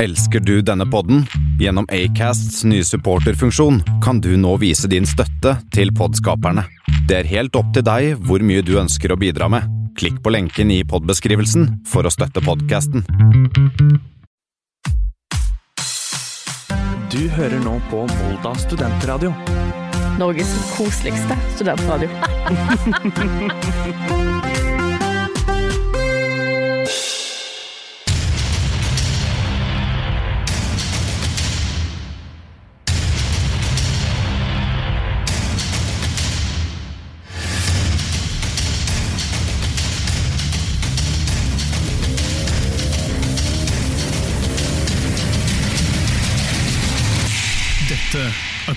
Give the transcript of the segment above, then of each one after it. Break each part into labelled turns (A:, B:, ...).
A: Elsker du denne podden? Gjennom Acasts nye supporterfunksjon kan du nå vise din støtte til podskaperne. Det er helt opp til deg hvor mye du ønsker å bidra med. Klikk på lenken i podbeskrivelsen for å støtte podkasten.
B: Du hører nå på Volda studentradio.
C: Norges koseligste studentradio.
D: Dette er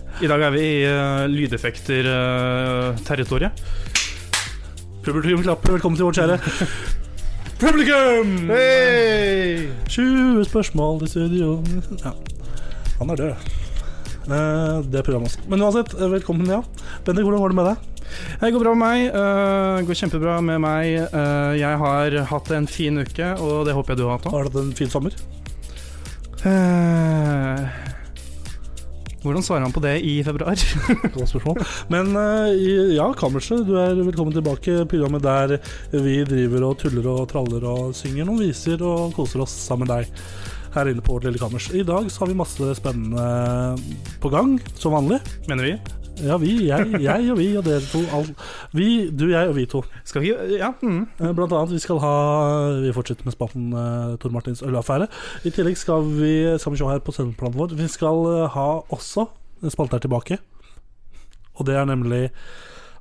D: I dag er vi i eh, lydeffekter-territoriet.
E: Publikum klapper, velkommen til vårt kjære
D: Publikum! Hey!
E: 20 spørsmål i studio ja. Han er død. Eh, det er programmet også. Men uansett, eh, velkommen, ja. Bendik, hvordan går det med deg?
D: Det går bra med meg. eh, Det går kjempebra med meg. Eh, Jeg har hatt en fin uke, og det håper jeg du har hatt òg.
E: Har du hatt en fin sommer?
D: Eh, Hvordan svarer han på det i februar?
E: Godt spørsmål. Men eh, i- ja, Kammerset, du er velkommen tilbake. Programmet der vi driver og tuller og traller og synger noen viser og koser oss sammen med deg her inne på vårt lille kammers. I dag så har vi masse spennende på gang, som vanlig.
D: Mener vi.
E: Ja, vi, jeg, jeg og vi og dere to. Alt. Vi, du, jeg og vi to.
D: Skal vi Ja. Mm.
E: Eh, Blant annet, vi skal ha Vi fortsetter med spalten eh, Tor Martins ølaffære. I tillegg skal vi skal vi se her på sendeplanen vår Vi skal eh, ha også en spalte her tilbake. Og det er nemlig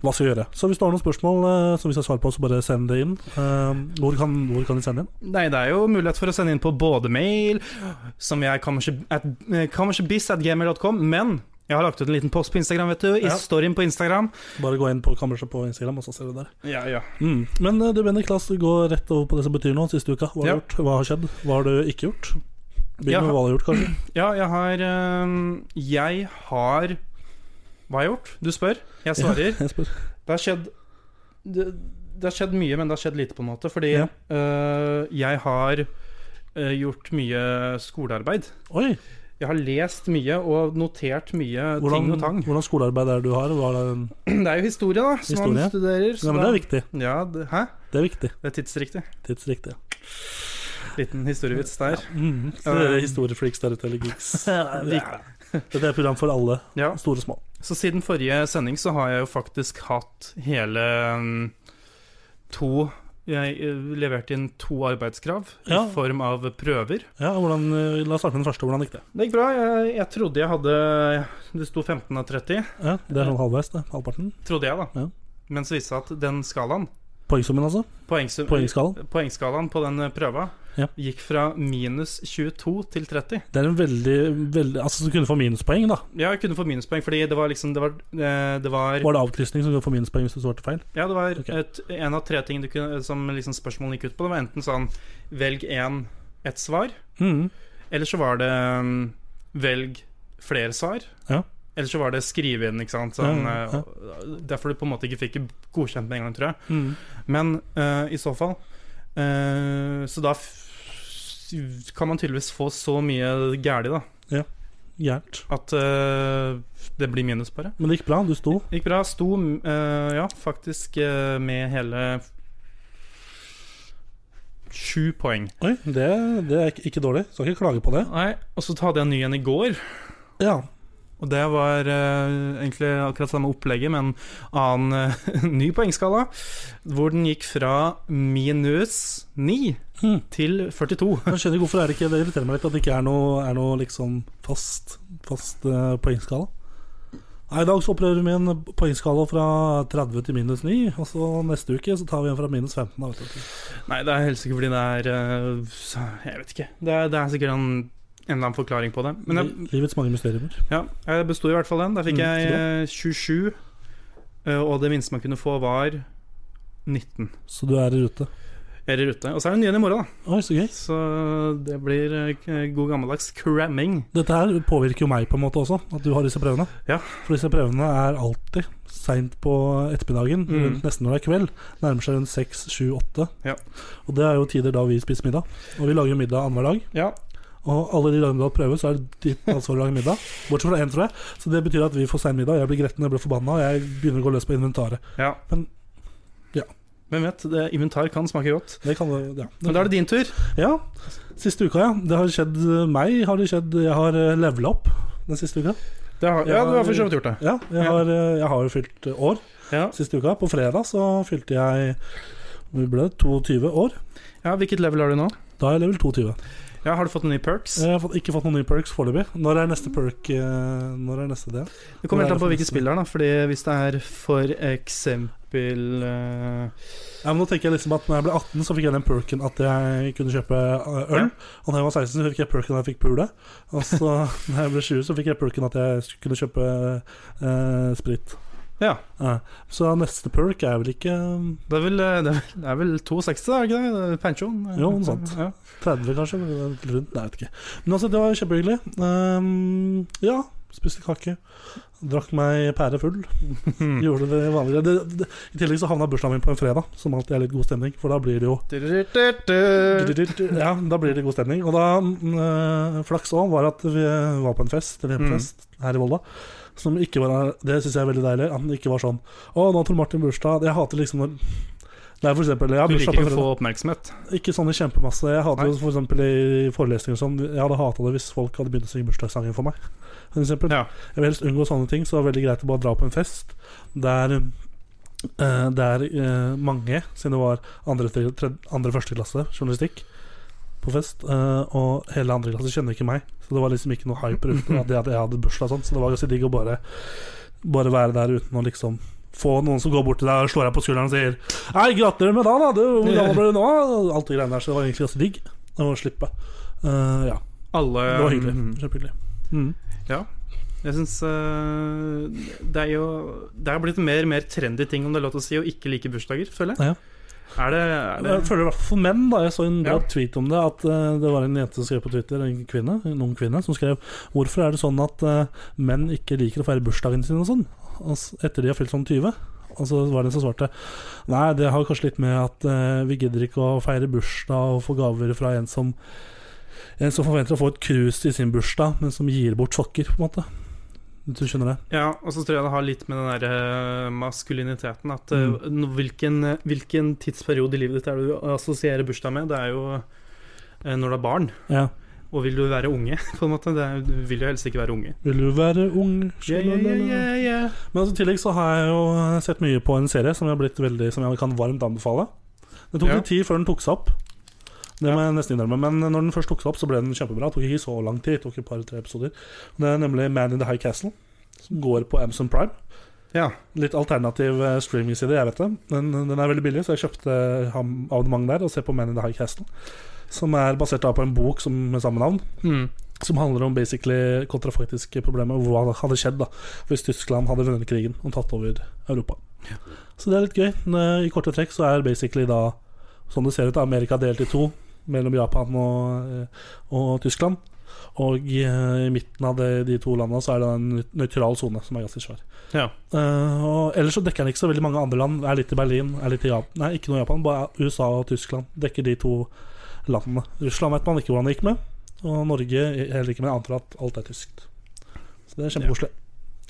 E: hva skal vi gjøre? Så hvis du har noen spørsmål eh, som vi skal svare på, så bare send det inn. Eh, hvor, kan, hvor kan de sende inn?
D: Nei, det er jo mulighet for å sende inn på både mail, som jeg eh, kammersebiz.gmail.com, men jeg har lagt ut en liten post på Instagram, vet du. I
E: Ja.
D: storyen på Instagram.
E: Bare gå inn på kammerset på Instagram, og så ser du der.
D: Ja, ja.
E: Mm. Men eh, du, Bendik, la oss gå rett over på det som betyr noe siste uka. Hva har
D: Ja.
E: du gjort? Hva har skjedd? Hva har du ikke gjort?
D: Ja.
E: Begynn med hva du har gjort, kanskje.
D: Ja, jeg har øhm, Jeg har Hva har jeg gjort? Du spør, jeg svarer.
E: Jeg spør.
D: Det har skjedd det, det har skjedd mye, men det har skjedd lite, på en måte. Fordi
E: Ja.
D: øh, jeg har øh, gjort mye skolearbeid.
E: Oi!
D: Jeg har lest mye og notert mye ting
E: Hvordan,
D: og tang.
E: hvordan skolearbeid er det du har? Hva er det
D: Det er jo historie, da, som
E: Historie.
D: man studerer. så
E: Ja, men det er viktig.
D: Ja, det, hæ?
E: Det er viktig.
D: Det er tidsriktig.
E: Tidsriktig.
D: Liten historievits der.
E: Mm. Så dere er historiefreaks der ute, eller geeks. Dette er et program for alle,
D: Ja.
E: store og små.
D: Så siden forrige sending så har jeg jo faktisk hatt hele mm, to Jeg eh, leverte inn to arbeidskrav
E: Ja.
D: i form av prøver.
E: Ja, hvordan, eh, la oss starte med den første. Hvordan gikk det?
D: Det gikk bra. Jeg, jeg trodde jeg hadde Det sto 15 av 30,
E: Ja, det er sånn halvveis, det. Halvparten.
D: trodde jeg, da.
E: Ja.
D: Men så viste det seg at den skalaen,
E: Poengsummen, altså.
D: poengsum,
E: Poengskalaen.
D: poengskalaen på den eh, prøva,
E: Ja.
D: gikk fra minus 22 til 30.
E: Det er en veldig, veldig Altså, som kunne få minuspoeng, da.
D: Ja, jeg kunne få minuspoeng, fordi det var liksom Det var, eh, det var
E: Var det avkrysning som kunne få minuspoeng hvis du svarte feil?
D: Ja, det var
E: Ok.
D: et, en av tre ting du kunne, som liksom spørsmålene gikk ut på. Det var enten sånn Velg én ett svar.
E: Mm.
D: Eller så var det mm, Velg flere svar.
E: Ja.
D: Eller så var det skrive inn, ikke sant. Sånn,
E: Ja, ja.
D: eh, Derfor du på en måte ikke fikk godkjent med en gang, tror jeg.
E: Mm.
D: Men eh, i så fall eh, Så da f kan man tydeligvis få så mye gæli, da,
E: Gærent.
D: at eh, det blir minus, bare.
E: Men det gikk bra. Du sto.
D: Gikk bra. Sto eh, ja, faktisk eh, med hele sju poeng.
E: Oi, det, det er ikke- ikke dårlig. Skal ikke klage på det.
D: Nei, Og så hadde jeg en ny en i går.
E: Ja.
D: Og det var eh, egentlig akkurat samme opplegget, men annen eh, ny poengskala. Hvor den gikk fra minus 9
E: Mm.
D: til 42.
E: Jeg skjønner hvorfor er det ikke Det irriterer meg litt at det ikke er noe, er noe liksom fast, fast eh, poengskala. Nei, I dag så opererer vi med en poengskala fra 30 til minus 9. Og så neste uke så tar vi en fra minus 15. Da, vet du.
D: Nei, det er helt sikkert fordi det er eh, så- Jeg vet ikke. Det er, det er sikkert en en eller annen forklaring på det. Men jeg,
E: Livets mange mysterier.
D: ja, jeg besto i hvert fall den. Der fikk
E: Mm,
D: jeg eh, 27, eh, og det minste man kunne få, var 19.
E: Så du er i rute.
D: Jeg er i rute. Og så er det en ny en i morgen, da.
E: Oi, så gøy.
D: Så det blir eh, k- god gammeldags cramming.
E: Dette her påvirker jo meg på en måte også, at du har disse prøvene.
D: Ja.
E: For disse prøvene er alltid seint på ettermiddagen,
D: Mm.
E: rundt nesten når det er kveld. Nærmer seg rundt seks, sju, åtte.
D: Ja.
E: Og det er jo tider da vi spiser middag. Og vi lager jo middag annenhver dag.
D: Ja.
E: Og alle de dagene du har prøve, så er det ditt ansvar å lage middag. Bortsett fra én, tror jeg. Så det betyr at vi får sein middag. Jeg blir gretten, jeg blir forbanna, og jeg begynner å gå løs på inventaret.
D: ja.
E: Men- ja.
D: Hvem vet? Det, inventar kan smake godt.
E: Det kan jo ja.
D: Men da er det din tur.
E: ja. Siste uka, ja. Det har skjedd eh, meg. Har det skjedd Jeg har levela opp den siste uka.
D: Det har, ja, du har for så vidt gjort det.
E: Ja, jeg
D: Ja.
E: har, eh, jeg har jo fylt eh, år
D: Ja.
E: siste uka. På fredag så fylte jeg hvor mye ble det, 22 år.
D: ja, Hvilket level har du nå?
E: Da er jeg level 22.
D: Ja, Har du fått noen nye perks?
E: Jeg har fått- ikke fått noen nye perks foreløpig. Når er neste perk eh, Når er neste det?
D: Det kommer
E: Hva er
D: helt an på
E: det
D: hvilket
E: for
D: spill det er, da. Fordi hvis det er for eksempel eh,
E: Ja, men nå tenker jeg liksom at når jeg ble 18, så fikk jeg den perken at jeg kunne kjøpe eh, øl.
D: Ja.
E: Og da jeg var 16, så fikk jeg perken at jeg fikk pule. Og så da jeg ble 20, så fikk jeg perken at jeg skulle kunne kjøpe eh, sprit.
D: Ja.
E: Eh, Så neste perk er vel ikke eh,
D: Det er vel, eh, det er vel- det er vel 260, da, er det ikke det? Pensjon?
E: Jo, noe sånt.
D: Ja.
E: 30 kanskje? men det er Rundt, nei, jeg vet ikke. Men altså, det var kjempehyggelig. Ehm, ja, spiste kake. Drakk meg pære full. Gjorde det vanlige. Det, det, I tillegg så havna bursdagen min på en fredag, som alltid er litt god stemning. For da blir det jo ja, da blir det god stemning. Og da mm, eh, Flaks òg var at vi var på en fest, eller
D: Mm.
E: hjemmefest, her i Volda. Som ikke var Det syns jeg er veldig deilig. At den ikke var sånn Å, nå tror Martin bursdag. Jeg hater liksom når Det er for eksempel Jeg har
D: Du
E: bursdag
D: liker
E: på en
D: ikke å
E: fredag.
D: få oppmerksomhet.
E: Ikke sånne kjempemasse. Jeg hater
D: Nei.
E: jo for eksempel i forelesninger og sånn Jeg hadde hata det hvis folk hadde begynt å synge bursdagssangen for meg. For eksempel.
D: Ja.
E: Jeg vil helst unngå sånne ting, så det er veldig greit å bare dra på en fest der eh, der eh, mange, siden det var andre, til- tredje- andre første klasse journalistikk på fest, eh, og hele andre klasse kjenner ikke meg, så det var liksom ikke noe hype rundt det at jeg hadde bursdag og sånn, så det var ganske digg å bare, bare være der uten å liksom få noen som går bort til deg og slår deg på skulderen og sier Hei, gratulerer med dagen, da! Du, hvor gammel ble du nå? Og Alt det greiene der. Så det var egentlig ganske digg å slippe. Eh, ja.
D: Alle
E: Det var hyggelig.
D: Mm,
E: Kjempehyggelig. Mm.
D: Jeg syns det er jo Det er blitt en mer og mer trendy ting, om det er lov til å si, å ikke like bursdager, føler jeg.
E: Ja.
D: Er det,
E: Jeg
D: er det
E: føler i hvert fall for menn, da. Jeg så en bra
D: Ja.
E: tweet om det. At eh, det var en jente som skrev på Twitter, en kvinne, en ung kvinne, som skrev Hvorfor er det sånn at eh, menn ikke liker å feire bursdagen sin og sånn? Og s- etter de har fylt sånn 20? Og så var det en som svarte Nei, det har kanskje litt med at eh, vi gidder ikke å feire bursdag og få gaver fra en som En som forventer å få et krus i sin bursdag, men som gir bort sokker, på en måte. Hvis du skjønner det?
D: Ja, og så tror jeg det har litt med den der eh, maskuliniteten at eh,
E: Mm.
D: no- hvilken, hvilken tidsperiode i livet ditt er det du assosierer bursdag med? Det er jo eh, når du er barn.
E: Ja.
D: Og vil du være unge, på en måte? Det er, du vil jo helst ikke være unge.
E: Vil du være ung? Men altså, i tillegg så har jeg jo eh, sett mye på en serie som jeg, har blitt veldig, som jeg kan varmt anbefale. Det tok
D: Ja.
E: litt tid før den tok seg opp. Det må jeg nesten innrømme. Men når den først tok seg opp, så ble den kjempebra. Det tok ikke så lang tid. Det tok et par-tre episoder. Det er nemlig Man in the High Castle, som går på Amazon Prime.
D: Ja.
E: Litt alternativ eh, streamingside, jeg vet det. Den, den er veldig billig, så jeg kjøpte ham- abonnement der og ser på Man in the High Castle. Som er basert da på en bok som, med samme navn
D: Mm.
E: som handler om basically kontrafaktiske problemer. Hva hadde skjedd da hvis Tyskland hadde vunnet krigen og tatt over Europa. Så det er litt gøy. Men, eh, I korte trekk så er basically da, sånn det ser ut, da, Amerika delt i to mellom Japan og, eh, og Tyskland. Og eh, i midten av de, de to landene så er det en nøytral sone som er ganske svær.
D: ja.
E: Eh, og ellers så dekker den ikke så veldig mange andre land. Er litt i Berlin, er litt i Japan Nei, ikke noe i Japan, bare USA og Tyskland dekker de to landene. Russland vet man ikke hvordan det gikk med, og Norge heller ikke, men jeg antar at alt er tyskt. Så det er kjempekoselig.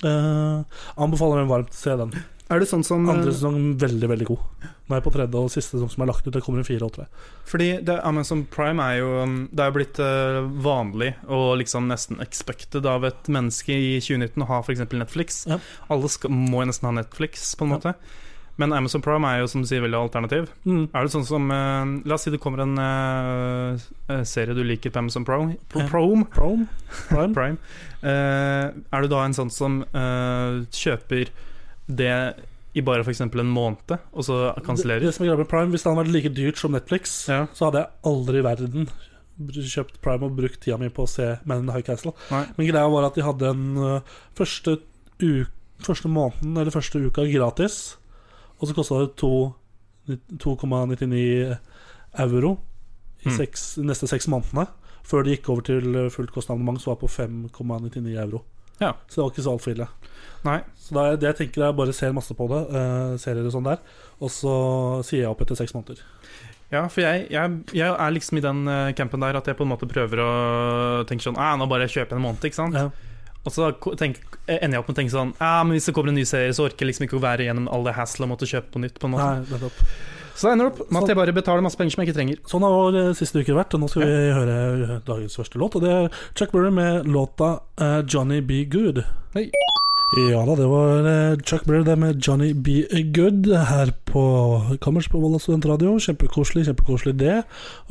E: Eh, anbefaler den varmt. Se den.
D: Er det sånn som
E: Andre sesong veldig, veldig god. Nå er jeg på tredje og siste sesong som er lagt ut. Det kommer en fire og tre.
D: Fordi det, Amazon Prime er jo um, Det er jo blitt eh, vanlig og liksom nesten expected av et menneske i 2019 å ha f.eks. Netflix.
E: Ja.
D: Alle skal, må jo nesten ha Netflix, på en
E: Ja.
D: måte. Men Amazon Prime er jo som du sier veldig alternativ.
E: Mm.
D: Er det sånn som eh, La oss si det kommer en eh, eh, serie du liker på Amazon Pro, Pro,
E: Ja.
D: Prome,
E: Prime. Prime.
D: Prime. Eh, er du da en sånn som eh, kjøper det i bare f.eks. en måned, og så
E: Det,
D: kansellerer?
E: det som er greia med Prime, Hvis det hadde vært like dyrt som Netflix,
D: Ja.
E: så hadde jeg aldri i verden br- kjøpt Prime og brukt tida mi på å se Man in the High Castle.
D: Nei.
E: Men greia var at de hadde en eh, første, u første måneden eller første uka gratis, og så kosta det to- 2,99 euro i
D: Mm.
E: seks, de neste seks månedene. Før det gikk over til eh, fullt kostnadsabonnement, som var på 5,99 euro.
D: Ja.
E: Så det var ikke så altfor ille.
D: Nei.
E: Så da, det jeg tenker er bare ser masse på det, eh, serier og sånn der, og så sier jeg opp etter seks måneder.
D: Ja, for jeg, jeg, jeg er liksom i den eh, campen der at jeg på en måte prøver å tenke sånn ah, Nå bare kjøper jeg en måned, ikke sant?
E: Ja.
D: Og så ko- tenk, ender jeg opp med å tenke sånn Ja, men hvis det kommer en ny serie, så orker jeg liksom ikke å være gjennom all det hassle og måtte kjøpe på nytt. på en måte
E: Nei, nettopp.
D: Så det ender opp med at jeg bare betaler masse penger som jeg ikke trenger.
E: Sånn har vår eh, siste uke vært, og nå skal vi høre eh, dagens første låt. Og det er Chuck Berry med låta eh, 'Johnny Be Good'.
D: Hei.
E: Ja da, det var eh, Chuck Berry der med 'Johnny Be Good' her på Kammers på Volda studentradio. Kjempekoselig, kjempekoselig det.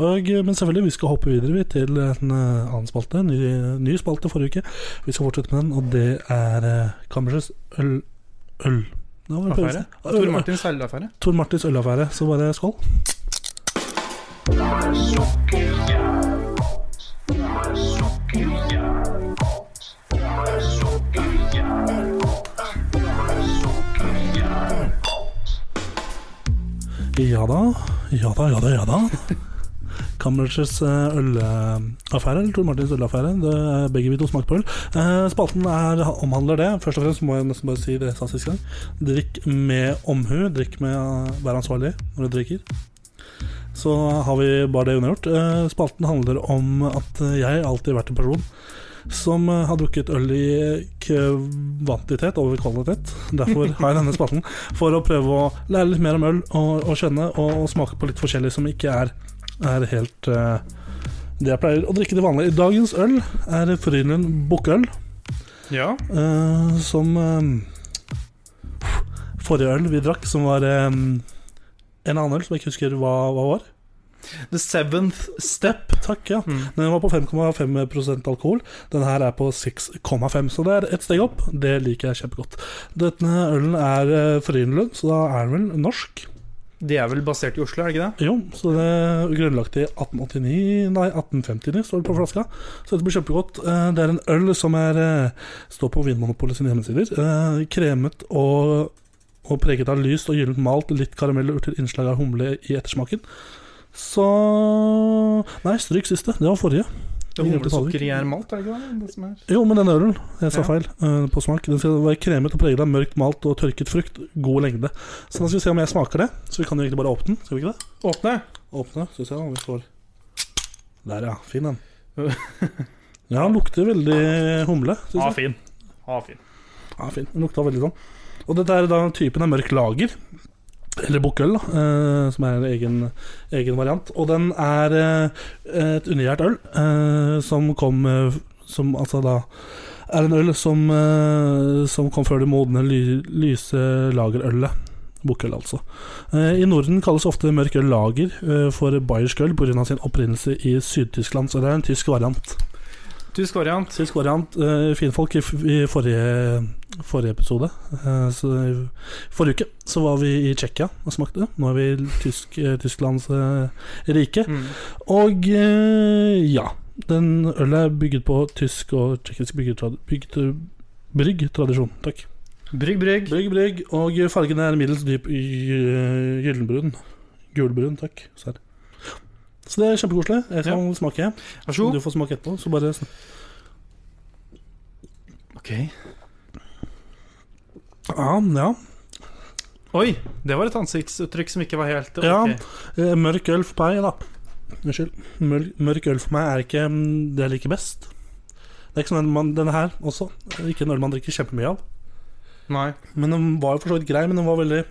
E: Og, eh, men selvfølgelig, vi skal hoppe videre vi, til en eh, annen spalte. Ny, ny spalte forrige uke. Vi skal fortsette med den, og det er eh, Kammersets øl... Øl... Nå var det pølse.
D: Affære. Tor
E: Øl-
D: Martins feilaffære.
E: Tor Martins ølaffære, så bare skål. Ja da, ja da, ja da. ja da Kammersets eh, ølaffære, eller Tor Martins ølaffære. Det er begge vi to smaker på øl. Eh, Spalten er, omhandler det. Først og fremst må jeg nesten bare si det jeg sa sist gang. Drikk med omhu. Drikk med eh, Vær ansvarlig når du drikker. Så har vi bare det unnagjort. Eh, Spalten handler om at jeg alltid har vært en person som eh, har drukket øl i kvantitet over kvalitet. Derfor har jeg denne spalten. For å prøve å lære litt mer om øl, og, og kjenne og, og smake på litt forskjellig som ikke er, er helt eh, det jeg pleier å drikke til vanlig. Dagens øl er Frynlund bukkøl.
D: Ja.
E: Eh, som eh, Forrige øl vi drakk, som var eh, en annen øl som jeg ikke husker hva, hva var.
D: The Seventh Step.
E: Takk, ja.
D: Mm.
E: Den var på 5,5 prosent alkohol. Den her er på 6,5, så det er ett steg opp. Det liker jeg kjempegodt. Denne ølen er eh, Frynlund, så da er den vel norsk.
D: De er vel basert i Oslo, er det ikke det?
E: Jo, så det er grunnlagt i 1889 Nei, 1859 står det på flaska. Så dette blir kjempegodt. Eh, Det er en øl som er, eh, står på Vinmonopolet sine hjemmesider. Eh, Kremet og, og preget av lyst og gyllent malt, litt karamell og urter, innslag av humle i ettersmaken. Så Nei, stryk siste. Det var forrige.
D: Det er Humlesukker i er malt, er det ikke det? det som er.
E: Jo, men den ølen. Jeg sa
D: Ja.
E: feil eh, på smak. Den skal være kremet og preget av mørkt malt og tørket frukt. God lengde. Så da skal vi se om jeg smaker det. Så vi kan jo egentlig bare åpne den. Skal vi ikke det?
D: Åpne.
E: Åpne, skal vi se om vi får Der, ja. Fin den. Ja, den lukter veldig humle. Synes
D: Ha
E: jeg.
D: fin. Ha fin.
E: Ja, fin. Den lukta veldig sånn. Og dette er da typen av mørk lager. Eller bukkøl, da, eh, som er en egen, egen variant. Og den er eh, et undergjært øl eh, som kom eh, Som altså da er en øl som, eh, som kom før det modne, ly, lyse lagerølet. Bukkøl, altså. Eh, I Norden kalles ofte mørk øl lager eh, for bayersk øl pga. sin opprinnelse i Syd-Tyskland, så det er en tysk variant.
D: Tysk variant.
E: Sist variant, uh, finfolk, i, f i forrige, forrige episode, eh, så, i forrige uke, så var vi i Tsjekkia og smakte. Nå er vi i tysk, eh, Tysklands eh, rike.
D: Mm.
E: Og eh, ja, den ølet er bygget på tysk og tsjekkisk byggetrad- bygget- bryggtradisjon. Takk.
D: Brygg, brygg.
E: Brygg, brygg, og fargen er middels dyp gy- gyllenbrun. Gulbrun, takk. Serr. Så det er kjempekoselig. Jeg kan smake.
D: Vær så god.
E: Du får smake etterpå, så bare sn-
D: Ok.
E: Ja, ja.
D: Oi, det var et ansiktsuttrykk som ikke var helt ok.
E: Ja. Eh, Mørk øl for meg, da. Unnskyld. Mørk, mørk øl for meg er ikke mm, det jeg liker best. Det er ikke som den, man, denne her også. eh, Ikke en øl man drikker kjempemye av.
D: Nei.
E: Men den var jo for så vidt grei, men den var veldig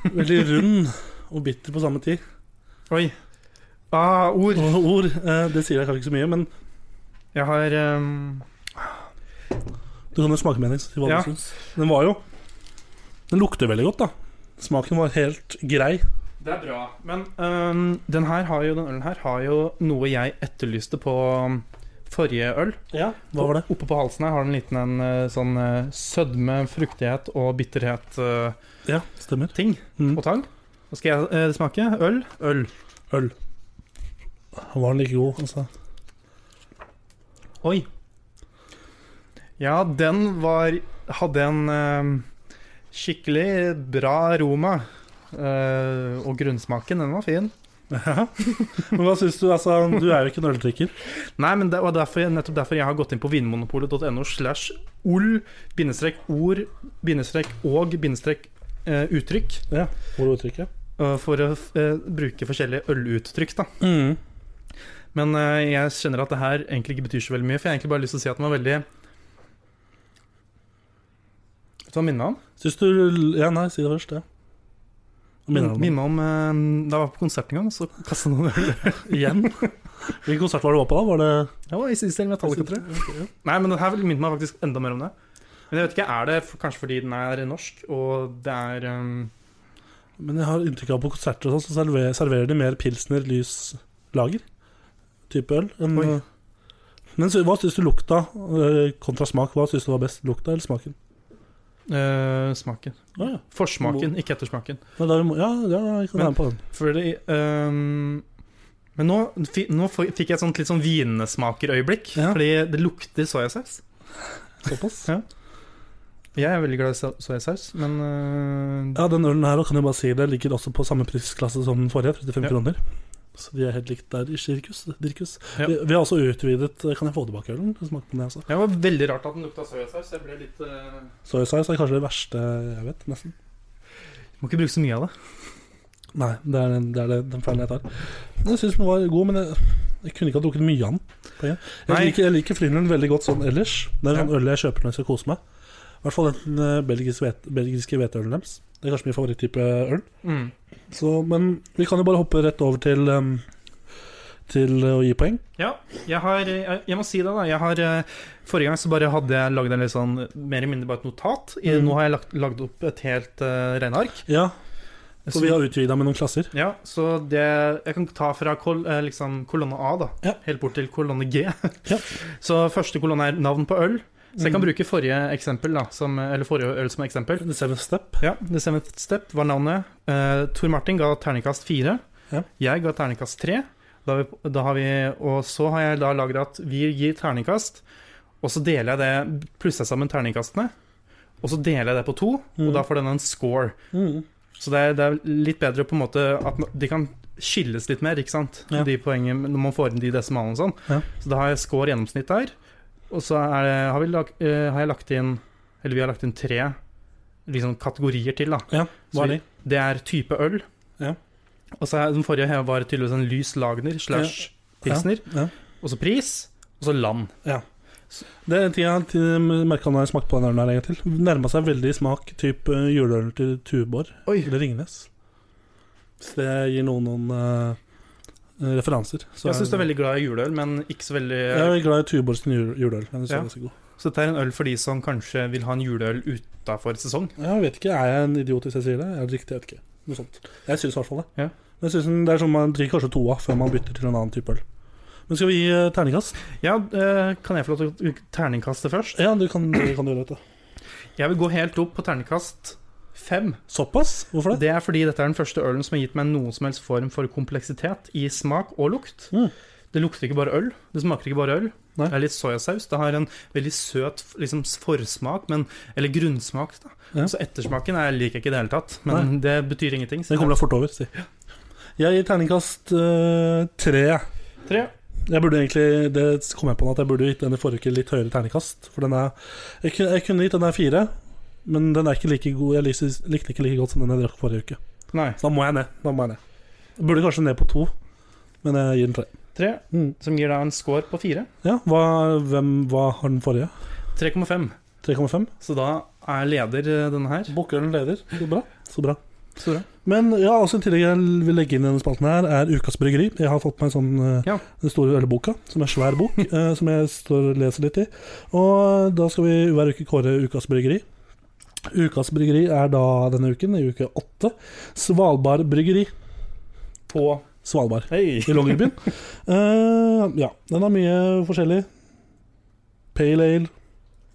E: Veldig rund og bitter på samme tid.
D: Oi. Ah, ord.
E: Og ord, eh, det sier jeg kanskje ikke så mye, men
D: Jeg har ehm,
E: du kan jo smake mening. si hva
D: Ja.
E: du syns. Den var jo Den lukter veldig godt, da. Smaken var helt grei.
D: Det er bra. Men ehm, den her har jo, den ølen her har jo noe jeg etterlyste på um, forrige øl.
E: Ja, Hva var det?
D: Oppe på halsen her har den en liten en eh, sånn eh, sødme, fruktighet og eh, bitterhet-ting.
E: Ja, stemmer. Mm.
D: og tang. Nå skal jeg eh, smake. Øl. Øl.
E: Øl. Var den like god? Altså.
D: Oi. Ja, den var Hadde en eh, skikkelig bra aroma. Eh, og grunnsmaken, den var fin.
E: Ja. Men hva syns du? Altså, du er jo ikke en øldrikker.
D: Nei, men det var derfor, nettopp derfor jeg har gått inn på vinmonopolet.no slash ol, bindestrek ord, bindestrek og, bindestrek eh, uttrykk,
E: Ja, Hvor er uttrykket?
D: eh, for å eh, bruke forskjellige øluttrykk, da.
E: Mm.
D: Men eh, jeg kjenner at det her egentlig ikke betyr så veldig mye, for jeg har egentlig bare lyst til å si at den var veldig Vet du hva den minner om?
E: Syns du Ja, nei, si det først. Ja. Hva Minner du om
D: Minner om eh, Da jeg var på konsert en gang, så kastet noen øl.
E: igjen? Hvilken konsert var det du var på da? Var det
D: Det var Isis eller Metallica, tror jeg.
E: Ok, ja.
D: Nei, men den her minnet meg faktisk enda mer om det. Men jeg vet ikke, er det f- kanskje fordi den er norsk, og det er ehm,
E: Men jeg har inntrykk av at på konserter og sånn, så serverer, serverer de mer pilsner, lys, lager type øl. enn-
D: Oi.
E: men så, hva syns du lukta eh, kontra smak? Hva syns du var best? Lukta eller smaken?
D: eh, smaken.
E: Ah, ja.
D: Forsmaken, ikke ettersmaken.
E: Men da, vi må- ja, ja, jeg kan
D: Men-
E: være med på den.
D: Fordi ehm, Men nå, fi- nå f- fikk jeg et sånt litt sånn vinesmakerøyeblikk,
E: Ja.
D: fordi det lukter soyasaus.
E: Såpass.
D: Ja. Jeg er veldig glad i sa- soyasaus, men eh,
E: Ja, den ølen her og kan jeg bare si det, ligger også på samme prisklasse som den forrige, 35
D: Ja.
E: kroner. Så de er helt likt der i sirkus. Dirkus.
D: Ja.
E: Vi, vi har også utvidet eh, Kan jeg få tilbake ølen? Smak på den, altså.
D: Det var veldig rart at den lukta soyasaus. Jeg ble litt eh,
E: Soyasaus er kanskje det verste jeg vet, nesten.
D: Må ikke bruke så mye av det.
E: Nei, det er den, det er det, den feilen jeg tar. Men Jeg syns den var god, men jeg, jeg kunne ikke ha drukket mye av den. på en gang.
D: Nei.
E: Jeg liker, jeg liker Frydenlund veldig godt sånn ellers. Det er
D: Ja.
E: sånn øl jeg kjøper når jeg skal kose meg. I hvert fall den eh, belgiske hvete- belgiske hveteølen deres. Det er kanskje min favoritttype øl.
D: Mm.
E: Så, men vi kan jo bare hoppe rett over til, em, til eh, å gi poeng.
D: Ja, jeg har Jeg, jeg må si det, da. Jeg har, eh, forrige gang så bare hadde jeg lagd en litt sånn mer eller mindre bare et notat. I,
E: Mm.
D: Nå har jeg lagt, lagd opp et helt uh, regneark.
E: Ja,
D: Så-
E: for vi har utvida med noen klasser.
D: Ja, så det Jeg kan ta fra kol, eh, liksom kolonne A, da,
E: Ja.
D: helt bort til kolonne G.
E: Ja.
D: Så første kolonne er navn på øl. Så jeg kan
E: Mm.
D: bruke forrige eksempel da som, Eller forrige øl som eksempel.
E: The Seventh Step.
D: Ja, The Seventh Step var navnet. Eh, Tor Martin ga terningkast fire.
E: Ja.
D: Jeg ga terningkast tre. Da har vi, da har vi, og så har jeg da lagra at vi gir terningkast, og så deler jeg det, plusser jeg sammen terningkastene, og så deler jeg det på to,
E: Mm.
D: og da får den en score.
E: Mm.
D: Så det er, det er litt bedre på en måte at ma- de kan skilles litt mer, ikke sant?
E: Ja.
D: De poengene når man får inn de desimalene og sånn.
E: Ja.
D: Så da har jeg score gjennomsnitt der. Og så er det, har, vi lag, eh, har jeg lagt inn Eller vi har lagt inn tre liksom, kategorier til, da.
E: Ja, hva er de?
D: Det er type øl.
E: Ja.
D: Og så er den forrige her var tydeligvis en lys lagner slash pilsner.
E: Ja.
D: Og så pris, og så land.
E: Det er en ting jeg har til- merket når jeg smakte på den ølen her en gang til. Nærma seg veldig i smak type juleøl til Tuborg
D: Oi.
E: eller Ringnes. Hvis det gir noen noen eh, referanser. så
D: jeg syns du er veldig glad i juleøl, men ikke så veldig
E: jeg er veldig glad i Tuborg sin jule- juleøl. Jeg synes
D: Ja.
E: den er ganske god.
D: Så dette er en øl for de som kanskje vil ha en juleøl utafor sesong.
E: Jeg vet ikke, er jeg en idiot hvis jeg sier det? Jeg er riktig, jeg vet ikke. Noe sånt. Jeg syns i hvert fall det.
D: Ja.
E: Men jeg synes den- det er sånn man drikker kanskje to av før man bytter til en annen type øl. Men skal vi gi eh, terningkast?
D: Ja, eh, kan jeg få lov til å terningkaste først?
E: Ja, du kan, det kan du gjøre, vet du.
D: Jeg vil gå helt opp på terningkast fem.
E: Såpass? Hvorfor det?
D: Det er fordi dette er den første ølen som har gitt meg noen som helst form for kompleksitet i smak og lukt.
E: Mm.
D: Det lukter ikke bare øl. Det smaker ikke bare øl.
E: Nei.
D: Det er litt soyasaus. Det har en veldig søt liksom, forsmak, men, eller grunnsmak. Da.
E: Ja.
D: Så ettersmaken er, liker jeg ikke i det hele tatt, men det betyr ingenting.
E: Det kommer deg fort over, si. Jeg gir terningkast eh, tre.
D: Tre.
E: Jeg burde egentlig, Det kom jeg på nå, at jeg burde gitt den i forrige uke litt høyere terningkast. For den er Jeg, kunne- jeg kunne gitt den her fire, men den er ikke like god Jeg likte, likte ikke like godt som den jeg drakk forrige uke.
D: Nei.
E: Så da må jeg ned. Da må jeg ned. Jeg burde kanskje ned på to, men jeg gir den tre.
D: Tre,
E: Mm.
D: som gir da en score på fire.
E: Ja, hva, hvem, hva har den forrige?
D: 3,5.
E: 3,5?
D: Så da er leder eh, denne her.
E: Bukkølen leder. Så bra. Så bra.
D: Så bra.
E: Men ja, også i tillegg jeg vil legge inn i denne spalten her, er Ukas Bryggeri. Jeg har fått meg en sånn eh,
D: Ja.
E: den store ølboka, som er svær bok, eh, som jeg står og leser litt i. Og da skal vi hver uke kåre Ukas Bryggeri. Ukas Bryggeri er da denne uken, i uke åtte, Svalbard Bryggeri.
D: På
E: Svalbard.
D: Hei.
E: i Longyearbyen. Eh, ja, den har mye forskjellig. Pale ale,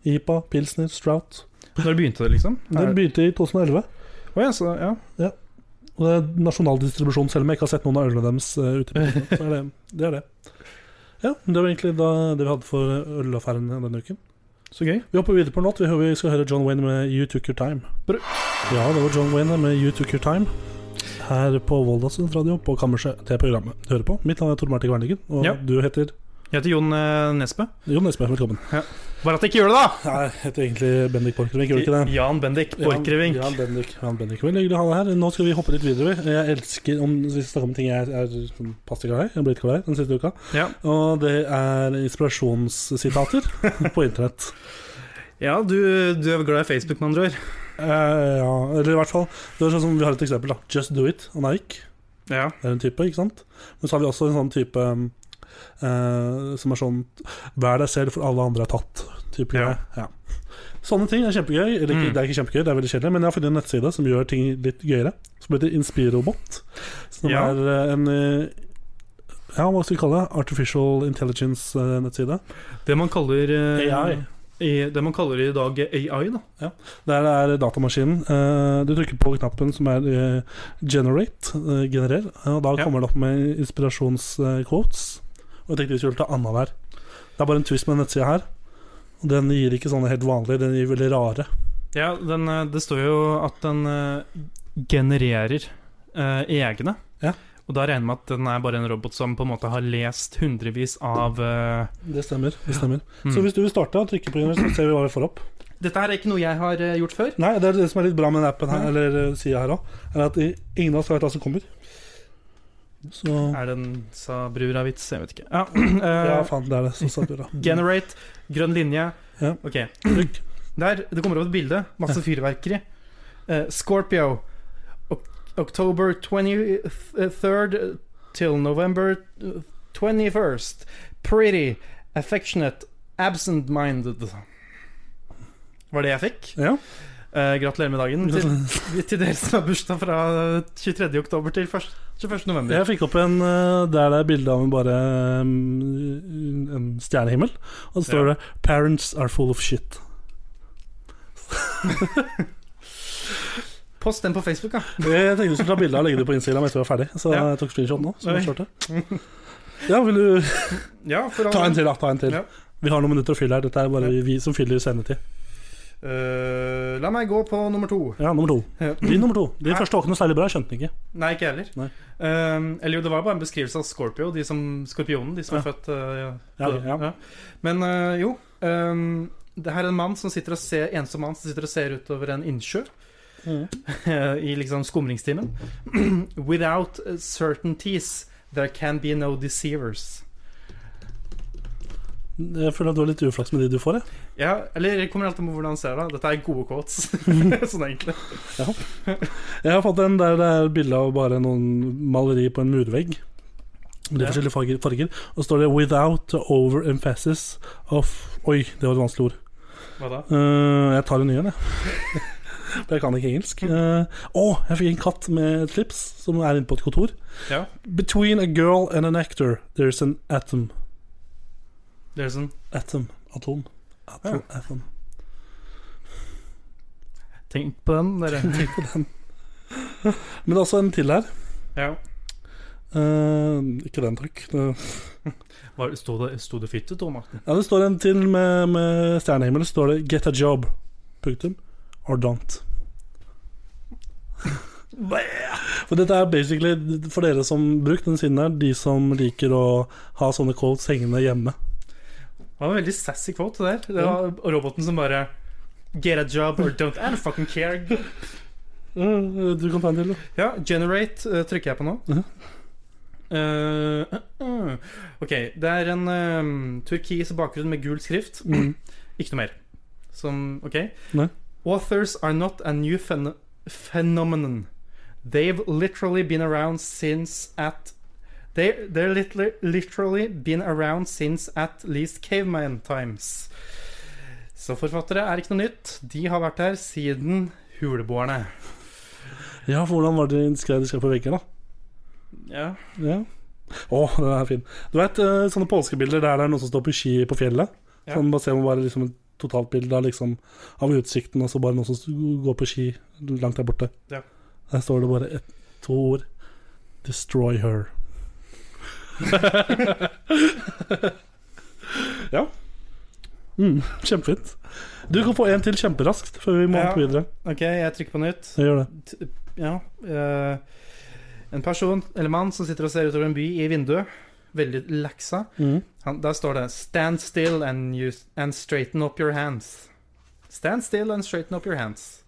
E: IPA, Pilsner, Strout.
D: Når begynte det, liksom?
E: Den
D: Er-
E: begynte i 2011.
D: Å ja, så, ja.
E: Og det er nasjonal distribusjon, selv om jeg ikke har sett noen av ølene deres eh, ute. på butikken, Så er det, det er det. Ja, det var egentlig da det vi hadde for eh, ølaffæren denne uken.
D: Så gøy.
E: Vi hopper videre på en låt. Vi hører- Vi skal høre John Wayne med You Took Your Time.
D: Bra.
E: Ja, det var John Wayne med You Took Your Time. Her på Volda studentradio på Kammerset. Det er programmet du hører på. Mitt navn er Tor Martin Kvernigen, og
D: Ja.
E: du heter
D: Jeg heter Jon eh, Nesbø.
E: Jon Espe. Velkommen.
D: Bare at jeg ikke gjør det, da!
E: Jeg heter egentlig Bendik Borchgrevink, gjør du ikke det?
D: Jan Bendik Borchgrevink.
E: Jan, Jan Bendik. Jan Bendik. Veldig hyggelig å ha deg her. Nå skal vi hoppe litt videre. vi. Jeg elsker om vi skal snakke om ting jeg er sånn passe glad i. Jeg har blitt glad i den siste uka.
D: Ja.
E: Og det er inspirasjonssitater på internett.
D: Ja, du, du er glad i Facebook, med andre ord.
E: Eh, ja, eller i hvert fall Det er sånn som Vi har et eksempel. da Just Do It og Nike.
D: Ja.
E: Det er en type, ikke sant? Men så har vi også en sånn type um, eh, som er sånn Vær deg selv, for alle andre er tatt. Type
D: Ja.
E: greie. ja. Sånne ting er kjempegøy. Eller ikke,
D: Mm.
E: det er ikke kjempegøy, det er veldig kjedelig, men jeg har funnet en nettside som gjør ting litt gøyere. Som heter Inspirobot. Som
D: Ja.
E: er eh, en eh, Ja, hva skal vi kalle det? Artificial eh, Intelligence-nettside.
D: Det man kaller eh,
E: AI.
D: I, det man kaller i dag AI, da.
E: Der er datamaskinen. Eh, Du trykker på knappen som er eh, 'generate', eh, generer, og da
D: Ja.
E: kommer det opp med inspirasjonsquotes. Og jeg tenkte vi skulle ta annenhver. Det er bare en twist med nettsida her. Og Den gir ikke sånne helt vanlige, den gir veldig rare.
D: Ja, den, eh, det står jo at den eh, genererer eh, egne.
E: Ja.
D: Og da regner jeg med at den er bare en robot som på en måte har lest hundrevis av eh,
E: Det stemmer. det stemmer
D: mm.
E: Så hvis du vil starte og trykke på den, så ser vi hva vi får opp.
D: Dette her er ikke noe jeg har eh, gjort før.
E: Nei, Det er det som er litt bra med den appen her, eller eh, sida her òg, er at i- ingen av oss vet hva som kommer. Så
D: Er det en sa brura-vits? Jeg vet ikke. Ja,
E: Ja,
D: eh,
E: faen, det er det. Så sa du da.
D: generate, grønn linje.
E: Ja.
D: Ok.
E: Trykk.
D: Der, det kommer opp et bilde. Masse fyrverkeri. Eh, Scorpio. Ok October 23rd till November 21st. Pretty. Affectionate. Absent-minded. Var det jeg fikk.
E: Ja.
D: Eh, gratulerer med dagen til, til dere som har bursdag fra 23. oktober til 1. 21. november.
E: Jeg fikk opp en eh, der det er bilde av en bare mm, en stjernehimmel. Og så står
D: Ja.
E: det 'Parents are full of shit'.
D: Post den på Facebook, da.
E: Jeg tenkte du skulle ta bilde og legge det på Instagram etter vi var ferdig. Så
D: Ja.
E: jeg tok screenshot nå. Så
D: Oi.
E: jeg kjørte. Ja, vil du
D: Ja, for all
E: Ta en
D: del.
E: til, da. ta en til
D: Ja.
E: Vi har noen minutter å fylle her. Dette er bare vi som fyller sendetid.
D: Eh, la meg gå på nummer to.
E: Ja, nummer to.
D: Ja.
E: Din nummer to. Din
D: Nei.
E: første var ikke noe særlig bra. Jeg skjønte den ikke.
D: Nei, ikke jeg heller.
E: Nei.
D: Ehm, eller jo, det var bare en beskrivelse av Scorpio, de som, skorpionen, de som er født eh, ja,
E: Ja, ok, ja.
D: Men eh, jo ehm, Det her er en mann som sitter og ser ensom mann som sitter og ser utover en innsjø
E: Mm.
D: i liksom skumringstimen. Without certainties there can be no deceivers.
E: Jeg føler at du har litt uflaks med de du får. Jeg.
D: Ja, eller det kommer alt an på hvordan han ser det. Dette er gode quotes, sånn egentlig.
E: jeg har fått en der det er bilde av bare noen maleri på en murvegg. Med
D: Ja.
E: forskjellige farger, farger. Og så står det 'without the overemphasis of' Oi, det var et vanskelig ord.
D: Hva da?
E: Eh, jeg tar en ny en, jeg. For jeg kan ikke engelsk. Eh, Å, jeg fikk en katt med et slips som er inne på et kontor.
D: Ja.
E: Between a girl and an actor, there's an atom.
D: Det er sånn
E: Atom. Atom. Atom. atom.
D: Tenk på den, dere.
E: Tenk på den. Men det er også en til her.
D: Ja.
E: Eh, ikke den, takk. Det,
D: Var- Sto det, sto det fytte, Tor Martin?
E: ja, det står en til med, med stjernehimmel. Det står det 'Get a job'. Punktum. Or don't. For dette er basically for dere som bruker den siden her, de som liker å ha sånne quotes hengende hjemme.
D: Det var en veldig sassy quote det der. Det var roboten som bare Get a job or don't I don't fucking care.
E: Eh, Du kan ta en til, du.
D: Ja, generate eh, trykker jeg på nå.
E: Mhm.
D: Eh, eh, eh. ok, det er en eh, turkis bakgrunn med gul skrift. Ikke noe mer. Som OK.
E: Mhm. Nei.
D: Authors are not a new phen phenomenon. They've literally been around since at they, They're literally, literally been around since at least caveman times. Så forfattere er ikke noe nytt. De har vært her siden huleboerne.
E: Ja, for hvordan var det de skrev de skrev på veggen, da?
D: Ja.
E: Ja. Å, den er fin. Du vet eh, sånne påskebilder der det er noen som står på ski på fjellet?
D: Ja.
E: Sånn bare ser man bare liksom et totaltbilde av, liksom, av utsikten, og så bare noen som s- går på ski langt der borte.
D: Ja.
E: Der står det bare et To ord. Destroy her. ja. Mm, kjempefint. Du kan få en til kjemperaskt før vi må
D: Ja.
E: videre.
D: OK, jeg trykker på nytt.
E: Jeg gjør det.
D: T- Ja. eh, en person eller mann som sitter og ser utover en by i vinduet. Veldig laksa.
E: Mhm.
D: Han, der står det 'Stand still and, you, and straighten up your hands'. Stand still and straighten up your hands.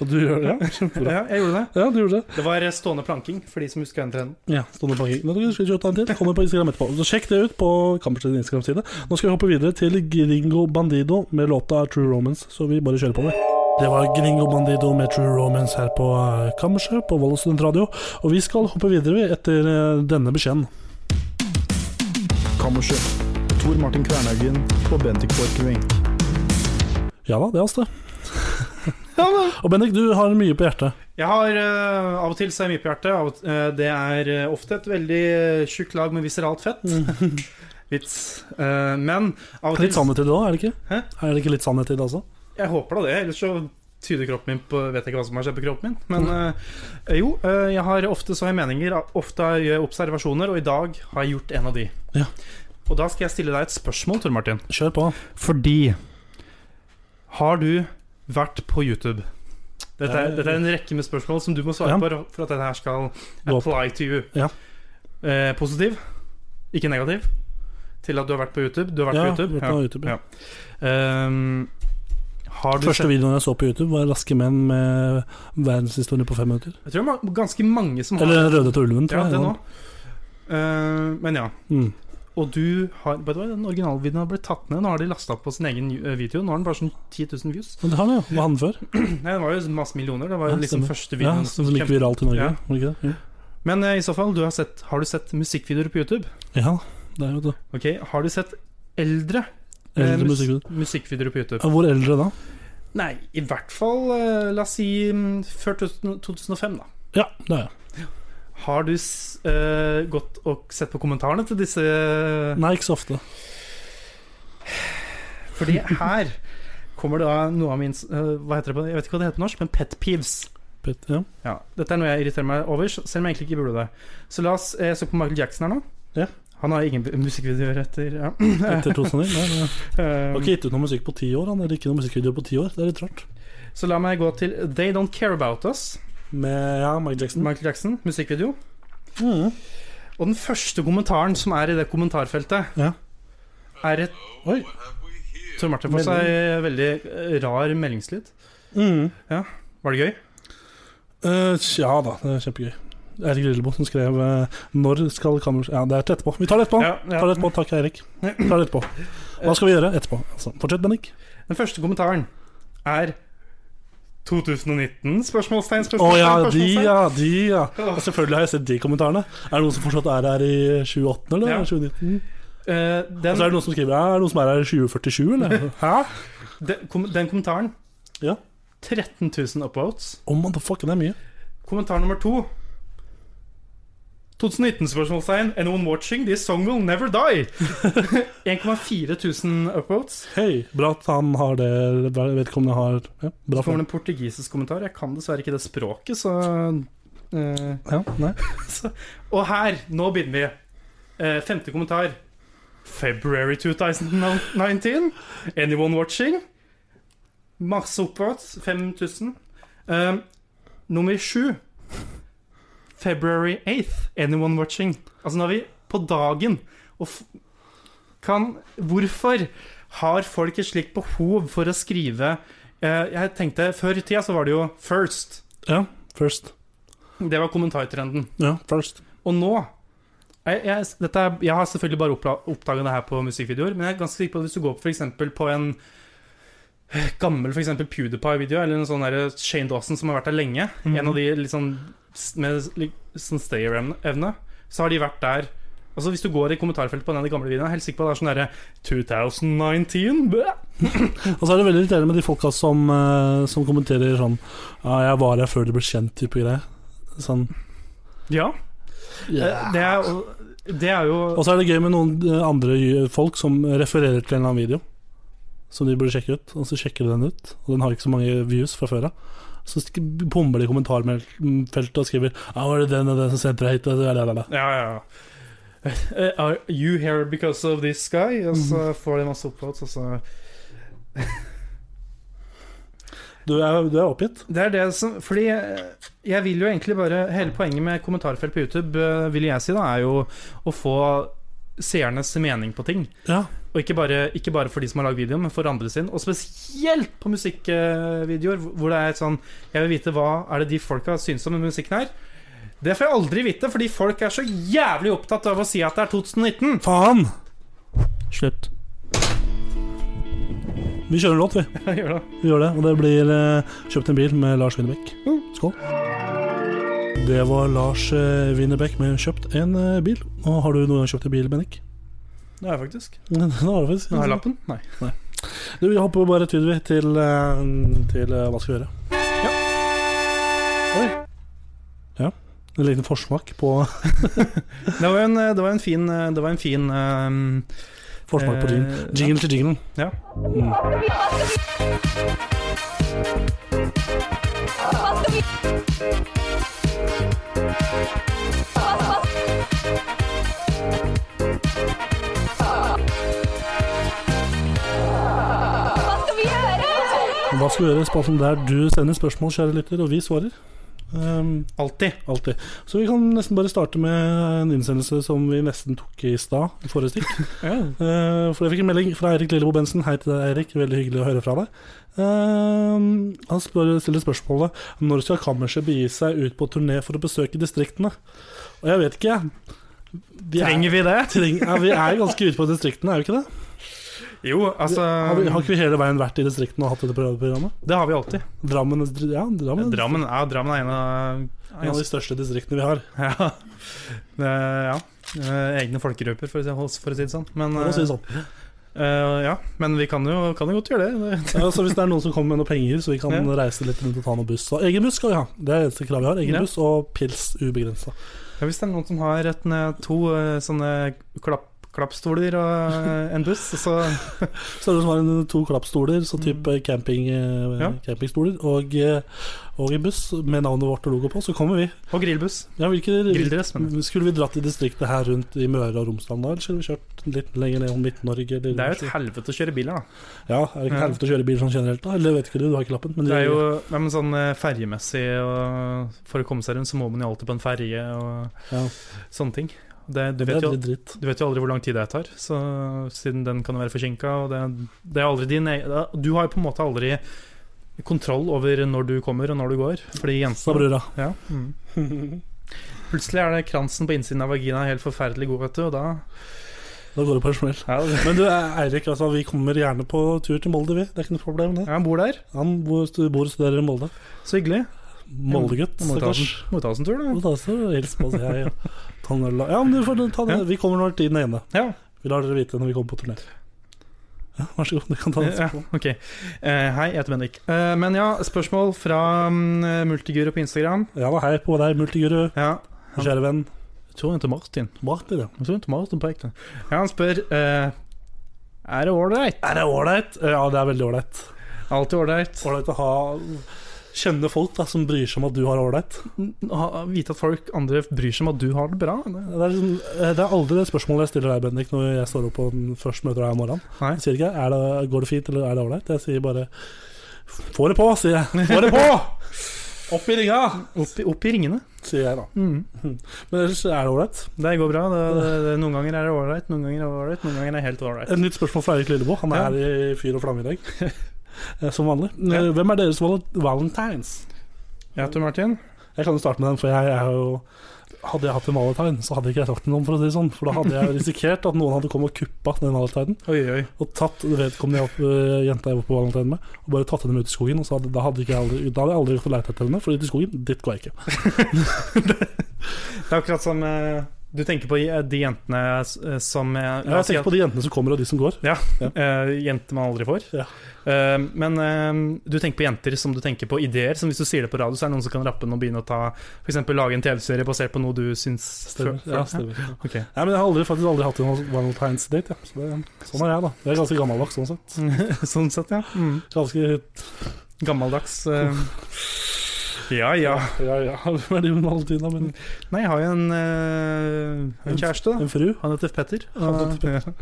E: Og du gjør det? Ja, kjempebra.
D: Ja, jeg gjorde det.
E: Ja, du gjorde det.
D: Det var eh, stående planking, for de som husker den trenden.
E: Ja, stående planking. Nå skal vi ta en til. Kommer på Instagram etterpå. Så sjekk det ut på Kampers sin Instagram-side. Nå skal vi hoppe videre til Gringo Bandido med låta True Romance, så vi bare kjører på det. Det var Gringo Bandido med True Romance her på eh, Kammerset på Volda Studentradio. Og vi skal hoppe videre vi, etter eh, denne beskjeden.
B: Kammerset. Tor Martin Kvernhaugen og Bendik Borchgrevink.
E: Ja da, det er oss, det. Og Bendik, du har mye på hjertet.
D: Jeg har eh, av og til så er jeg mye på hjertet. Av, og t- eh, det er eh, ofte et veldig eh, tjukt lag med viseralt fett. Vits. Eh, men av og til
E: Litt sannhet i det òg, er det ikke?
D: Hæ?
E: Er det ikke litt sannhet i det også?
D: Jeg håper da det, ellers så tyder kroppen min på Vet jeg ikke hva som har skjedd på kroppen min. Men eh, jo, eh, jeg har ofte så har jeg meninger, ofte gjør jeg observasjoner, og i dag har jeg gjort en av de.
E: Ja.
D: Og da skal jeg stille deg et spørsmål, Tor Martin.
E: Kjør på.
D: Fordi Har du vært på YouTube? Dette er, dette er en rekke med spørsmål som du må svare
E: Ja.
D: på for at dette her skal
E: Gå opp.
D: apply to you.
E: Ja.
D: Eh, positiv, ikke negativ, til at du har vært på YouTube. Du har vært
E: Ja,
D: på YouTube.
E: vært på YouTube, ja.
D: Ehm, har du
E: Første
D: sett
E: videoen jeg så på YouTube, var Raske menn med verdenshistorie på fem minutter.
D: Jeg tror det er ma- ganske mange som har
E: Eller Den røde tulven, tror
D: ja,
E: jeg.
D: den òg. Eh, men ja.
E: Mm.
D: Og du har By the way, den originalvideoen har blitt tatt ned. Nå har de lasta opp på sin egen eh, video. Nå har den bare sånn 10 000 views.
E: Men det har den jo. Var han før?
D: Nei, den var jo masse millioner. Det var
E: Ja,
D: jo liksom
E: stemmer.
D: første
E: Ja,
D: videoen.
E: som, som gikk viralt i Norge.
D: Ja.
E: Var det ikke det?
D: Men eh, i så fall, du har, sett, har du sett musikkvideoer på YouTube?
E: Ja. ja, det er jo det.
D: Ok, Har du sett eldre, eh,
E: Eldre
D: mus-
E: musikkvideoer.
D: musikkvideoer på YouTube?
E: Ja, Hvor eldre da?
D: Nei, i hvert fall eh, la oss si mm, før 2000 2005, da.
E: Ja, det er jeg.
D: Har du s eh, gått og sett på kommentarene til disse eh,
E: Nei, ikke så ofte.
D: Fordi her kommer det da noe av min eh, Hva heter det på Jeg vet ikke hva det heter på norsk, men pet peeves.
E: Pet, ja.
D: Ja, Dette er noe jeg irriterer meg over, selv om jeg egentlig ikke burde det. Så la oss Jeg så på Michael Jackson her nå.
E: Ja.
D: Han har ingen musikkvideoer etter ja.
E: Etter 2009. Nei, nei.
D: Eh,
E: Har ikke gitt ut noe musikk på ti år. Han eller ikke noe musikkvideo på ti år. Det er litt rart.
D: Så la meg gå til They Don't Care About Us.
E: Med ja, Mike Jackson.
D: Michael Jackson, musikkvideo.
E: Mm.
D: Og den første kommentaren som er i det kommentarfeltet,
E: Ja.
D: er et
E: Oi.
D: Tor Martin får seg veldig eh, rar meldingslyd.
E: Mm.
D: Var det gøy?
E: Eh, ja da, det er kjempegøy. Eirik Lillebo som skrev eh, 'Når skal kammers...' Ja, det er til etterpå. Vi tar det etterpå.
D: Ja, ja.
E: Tar det etterpå. Takk, Eirik. Tar det etterpå. Hva skal vi gjøre etterpå? Altså, fortsett, Bennik.
D: Den første kommentaren er 2019? Spørsmålstegn,
E: Å
D: spørsmålstegn.
E: ja, de
D: spørsmålstegn.
E: ja, de ja. ja. Selvfølgelig har jeg sett de kommentarene. Er det noen som fortsatt er her i 2018 eller
D: Ja.
E: 2019? Og så Altså,
D: Eh,
E: er
D: den,
E: det noen som skriver ja, er det noen som er her i 2047, eller? Hæ?
D: den, kom, den kommentaren
E: Ja.
D: 13 000 upvotes.
E: Oh, motherfucker, det er mye.
D: Kommentar nummer to 2019-spørsmålstegn. Anyone watching? This song will never die. 1,4 000 upvotes.
E: Hei, bra at han har det eller Vedkommende har ja,
D: Så
E: Bra
D: kommer
E: for
D: det en portugisisk kommentar. Jeg kan dessverre ikke det språket, så eh,
E: Ja, nei.
D: Og her, nå begynner vi. Eh, femte kommentar. February 2019. Anyone watching? Masse oppvotes. 5000. Eh, nummer sju. February 8th. Anyone watching? Altså, nå er vi på dagen. Og f kan Hvorfor har folk et slikt behov for å skrive eh, Jeg tenkte Før i tida så var det jo first.
E: Ja, first.
D: Det var kommentartrenden.
E: Ja, first.
D: Og nå jeg, jeg, dette er, jeg har selvfølgelig bare oppla- oppdaget det her på musikkvideoer, men jeg er ganske sikker på at hvis du går for eksempel på en eh, gammel for eksempel PewDiePie-video, eller en sånn der Shane Dawson som har vært der lenge, en av de litt sånn s- med litt sånn stayer-evne, så har de vært der Altså Hvis du går i kommentarfeltet på den av de gamle videoene, jeg er helt sikker på at det er sånn derre 2019 bæ!
E: Og så er det veldig irriterende med de folka som, eh, som kommenterer sånn Ja, jeg var her før det ble kjent, type greier. Sånn.
D: Ja.
E: Yeah.
D: Det er, jo- det er jo
E: Og så er det gøy med noen eh, andre ju- folk som refererer til en eller annen video. Som de burde sjekke ut, og så sjekker de den ut. Og den har ikke så mange views fra før av. Så sk- bomber de i kommentarfeltet og skriver Ja, var det den og den som sendte deg hit? Og la, la, la.
D: Ja, ja, ja. Eh, Are you here because of this guy? Og så får de masse uploads, og så
E: Du er, du er oppgitt?
D: Det er det som Fordi jeg, jeg vil jo egentlig bare Hele poenget med kommentarfelt på YouTube, eh, vil jeg si, da, er jo å få seernes mening på ting.
E: Ja.
D: Og ikke bare, ikke bare for de som har lagd videoen, men for andre sin. Og spesielt på musikkvideoer, hvor- hvor det er sånn Jeg vil vite hva er det de folka syns om den musikken her. Det får jeg aldri vite, fordi folk er så jævlig opptatt av å si at det er 2019.
E: Faen!
D: Slutt.
E: Vi kjører en låt, vi.
D: Gjør det.
E: vi gjør det, og det blir eh, Kjøpt en bil med Lars Winnerbäck. Skål. Det var Lars eh, Winnerbäck med Kjøpt en eh, bil. Og har du noen gang kjøpt en bil, Bennik?
D: Det er jeg faktisk.
E: Nå har du faktisk-
D: Nå har jeg lappen. Nei.
E: Du, vi hopper bare rett videre til, eh, til eh, hva skal vi gjøre. Ja. Oi. Ja. En liten forsmak på,
D: Det var jo en, eh, det var en fin Det var en fin ehm,
E: forsmak på din.
D: Eh,
E: Jingle til jinglen.
D: Ja.
E: Mm. Hva skal vi gjøre? Spalten der du sender spørsmål, kjære lytter, og vi svarer. Um,
D: Alltid.
E: alltid. Så vi kan nesten bare starte med en innsendelse som vi nesten tok i stad, i forrige stikk. Eh, for jeg fikk en melding fra Eirik Lillebo Bensen. Hei til deg, Eirik. Veldig hyggelig å høre fra deg. Eh, han spør, stiller spørsmålet når skal kammerset begi seg ut på turné for å besøke distriktene. Og jeg vet ikke, jeg. Vi er-
D: Trenger vi det?
E: Treng, ja, vi er ganske ute på distriktene, er vi ikke det?
D: Jo, altså
E: Har, vi, har ikke vi hele veien vært i distriktene og hatt dette programmet?
D: Det har vi alltid.
E: Drammen, ja, Drammen,
D: Drammen, altså. ja, Drammen er en av,
E: En av de største distriktene vi har.
D: ja. Det, ja. Eh, Egne folkegrupper, for å si, for å si det sånn. Men,
E: For å si det sånn.
D: eh, ja. Men vi kan jo, kan jo godt gjøre det. det.
E: Ja, så hvis det er noen som kommer med noen penger, så vi kan
D: Ja.
E: reise litt rundt og ta noen buss. Så egen buss skal vi ha. Det er det eneste kravet vi har. Egen
D: Ja.
E: buss og pils ubegrensa.
D: Ja, hvis det er noen som har et, eh, to eh, sånne klapp, klappstoler og eh, en buss, så
E: Så er det som har en- eh, to klappstoler, så type camping, eh,
D: Mm. Ja.
E: campingstoler, og, eh, og en buss med navnet vårt og logo på, så kommer vi.
D: Og grillbuss.
E: Ja, hvilke,
D: Grilldress, mener
E: skulle vi dratt i distriktet her rundt i Møre og Romsdal da, eller skulle vi kjørt litt lenger ned om Midt-Norge? eller-
D: Det er jo et helvete å kjøre bil her, da.
E: Ja, er det ikke
D: Ja.
E: helvete å kjøre bil sånn generelt, da? Eller vet ikke du, du har ikke lappen. Men
D: Det er jo ja, men sånn eh, ferjemessig og For å komme seg rundt, så må man jo alltid på en ferje og
E: Ja.
D: sånne ting. Det, du,
E: det
D: vet
E: er
D: jo,
E: litt dritt.
D: du vet jo aldri hvor lang tid det tar, så siden den kan være forsinka. Og det, det er aldri din e- Du har jo på en måte aldri kontroll over når du kommer og når du går. Fordi
E: Sa
D: Jensen
E: brura.
D: ja, mm. Plutselig er det kransen på innsiden av vagina helt forferdelig god, vet du, og da
E: Da går det på en smell.
D: ja, det-
E: Men du, Eirik, altså, vi kommer gjerne på tur til Molde, vi. Det er ikke noe problem, det.
D: ja, Han bor der.
E: Han bor, stu- bor og studerer i Molde.
D: Så hyggelig.
E: Moldegutt,
D: Må ta oss
E: stakkars.
D: må ta oss en tur,
E: Må
D: da.
E: ta oss og hilse på oss. Jeg, ja. Ta en øl, da. ja, men du får ta det. Vi kommer når tiden er inne.
D: Ja.
E: Vi lar dere vite når vi kommer på turné. Ja, vær så god. Du kan ta det.
D: Ja, ok. Eh, hei, jeg heter Bendik. Eh, men ja, spørsmål fra mm, Multiguru på Instagram.
E: Ja, da, hei på deg, multiguru,
D: Ja,
E: kjære venn.
D: jeg tror han heter Martin.
E: Martin, ja.
D: Jeg tror han heter Martin på ekte. Ja, han spør eh, Er det ålreit?
E: Er det ålreit? Ja, det er veldig ålreit.
D: Alltid ålreit.
E: Ålreit å ha Kjenne folk da, som bryr seg om at du har ålreit.
D: Ha- Vite at folk andre bryr seg om at du har det bra.
E: Det, er liksom, det er aldri det spørsmålet jeg stiller deg, Bendik, når jeg står opp og først møter deg om morgenen.
D: Nei.
E: Jeg sier ikke er det, 'går det fint', eller 'er det ålreit'? Jeg sier bare 'få det på', sier jeg. Få det på! Opp i ringa!
D: Opp, i- opp i ringene.
E: Sier jeg da.
D: Mm.
E: Men ellers er det ålreit.
D: Det går bra. Det, det, det, noen ganger er det ålreit, noen ganger er det ålreit, noen ganger er det helt ålreit.
E: Et nytt spørsmål fra Eirik Lilleboe. Han er i fyr og flamme i dag. Eh, Som vanlig. Eh, Hvem er deres val- valentines?
D: Ja, Tor Martin?
E: Jeg kan jo starte med den, for jeg, jeg er jo hadde jeg hatt en valentine, så hadde ikke jeg sagt noe om for å si det sånn. For da hadde jeg risikert at noen hadde kommet og kuppa den valentinen,
D: Oi, oi.
E: og tatt vedkommende jeg opp, øh, jenta jeg var på valentine med, og bare tatt henne med ut i skogen. Og så hadde, da, hadde ikke jeg aldri, da hadde jeg aldri fått leite etter henne, for ut i skogen, dit går jeg ikke.
D: Det er akkurat som eh, Du tenker på eh, de jentene eh, som eh,
E: Jeg har tenkt på de jentene som kommer, og de som går.
D: Eh, jenter man aldri får.
E: Ja.
D: Eh, men eh, du tenker på jenter som du tenker på ideer. Som hvis du sier det på radio, så er det noen som kan rappe den og begynne å ta For eksempel lage en TV-serie basert på noe du syns
E: Stemmer.
D: før-
E: Ja,
D: før-
E: stemmer.
D: Ok.
E: Nei, men jeg har aldri, faktisk aldri hatt en valentinsdate, ja. så det, sånn er jeg, da. Jeg er ganske Mm. gammeldags sånn sett.
D: sånn sett, ja. Mm.
E: Ganske
D: Gammeldags. eh, Ja, ja.
E: Ja, ja. Hvem er det hun holdt unna? Men
D: Nei, jeg har jo en, eh, en kjæreste. da.
E: en fru?
D: Han heter Petter.
E: Han heter
D: Petter.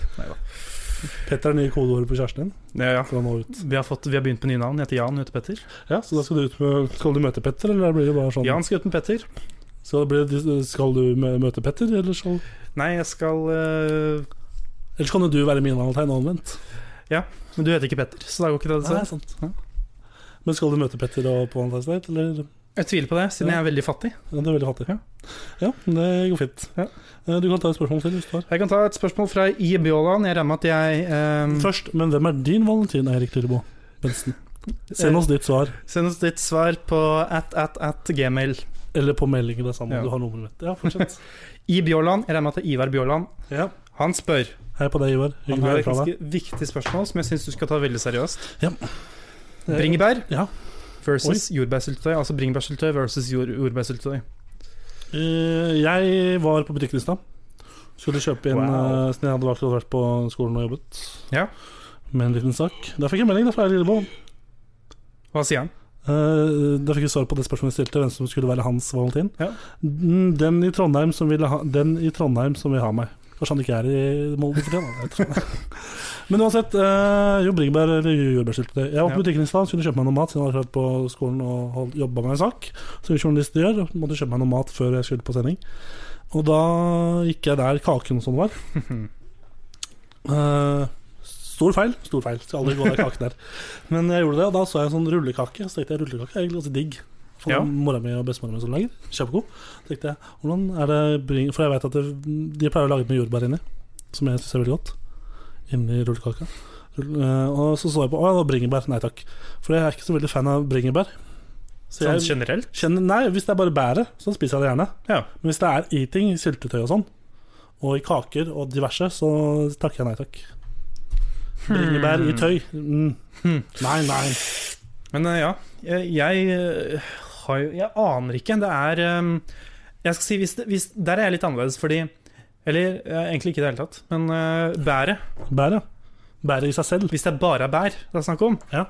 E: Petter er nye kodeordet på kjæresten din.
D: Ja, ja.
E: Fra nå ut.
D: Vi har, fått, vi har begynt med nye navn. Jeg heter Jan, hun heter Petter.
E: Ja, så da skal du ut med Skal du møte Petter, eller blir det bare sånn?
D: Jan skal ut med Petter.
E: Skal, det bli, skal du mø- møte Petter, eller skal
D: Nei, jeg skal eh,
E: Ellers kan jo du være min valgtegn omvendt.
D: Men du heter ikke Petter, så da går ikke det.
E: Nei,
D: Altså.
E: sant. Sånn. Men skal du møte Petter og på Valentine's Date, eller?
D: Jeg tviler på det, siden
E: Ja.
D: jeg er veldig fattig.
E: Ja, det er veldig fattig.
D: Ja.
E: ja, det går fint.
D: Ja.
E: Eh, Du kan ta et spørsmål til hvis du har.
D: Jeg kan ta et spørsmål fra I. Bjåland. Jeg regner med at jeg eh,
E: Først, men hvem er din valentin, Eirik Dyrebo Bensen? Send oss ditt svar,
D: Send oss ditt svar på at, at, at gmail.
E: eller på melding, det er samme.
D: Ja.
E: Du har nummeret mitt. Ja, fortsett.
D: I. Bjåland. Jeg regner med at det er Ivar Bjåland.
E: ja.
D: Han spør.
E: Hei på deg, Ivar.
D: Han
E: Hyggelig å
D: har
E: høre
D: et
E: fra deg.
D: ganske viktig spørsmål som jeg syns du skal ta veldig seriøst.
E: Ja.
D: Eh, Bringebær
E: Ja.
D: versus jordbærsyltetøy. Altså bringebærsyltetøy versus jord, jordbærsyltetøy.
E: Eh, jeg var på butikken i stad. Skulle kjøpe inn
D: Wow.
E: eh, siden jeg hadde akkurat vært på skolen og jobbet
D: Ja.
E: med en liten sak. Der fikk jeg melding da fra Eirik Dyrebo
D: Hva sier han?
E: Eh, Da fikk vi svar på det spørsmålet jeg stilte, hvem som skulle være hans valentin.
D: Ja.
E: Mm, Den, i Trondheim som ville ha, den i Trondheim som vil ha meg. Kanskje han ikke er i Molde for tiden. da, jeg vet ikke. Men uansett, eh, jo bringebær eller jordbærsyltetøy. Jeg var på
D: Ja.
E: butikken i stad, skulle kjøpe meg noe mat siden jeg hadde vært på skolen og jobba med en sak. Som journalister gjør. og Måtte kjøpe meg noe mat før jeg skulle på sending. Og da gikk jeg der kaken og sånn var.
D: Mhm.
E: Eh, stor feil. Stor feil. Skal aldri gå der kaken der. Men jeg gjorde det, og da så jeg en sånn rullekake. Så tenkte jeg rullekake er egentlig ganske digg. For
D: Ja.
E: mora mi og bestemora mi som lager. Kjempegod. tenkte jeg, hvordan er det bring... For jeg vet at det, de pleier å lage det med jordbær inni, som jeg syns er veldig godt. Inni rullekaka. Rull, eh, og så så jeg på Å, det var bringebær. Nei takk. For jeg er ikke så veldig fan av bringebær. Så
D: Sånn
E: jeg
D: generelt?
E: kjenner Nei, hvis det er bare bæret, så spiser jeg det gjerne.
D: Ja.
E: Men hvis det er i ting, i syltetøy og sånn, og i kaker og diverse, så takker jeg nei takk. Bringebær i tøy. Mm. Nei, nei.
D: Men eh, ja, jeg, jeg, eh, har jo Jeg aner ikke. Det er eh, Jeg skal si hvis, det- hvis Der er jeg litt annerledes, fordi Eller eh, egentlig ikke i det hele tatt. Men eh, bæret
E: Bær, ja. Bæret i seg selv.
D: Hvis det bare er bær det er snakk om,
E: Ja.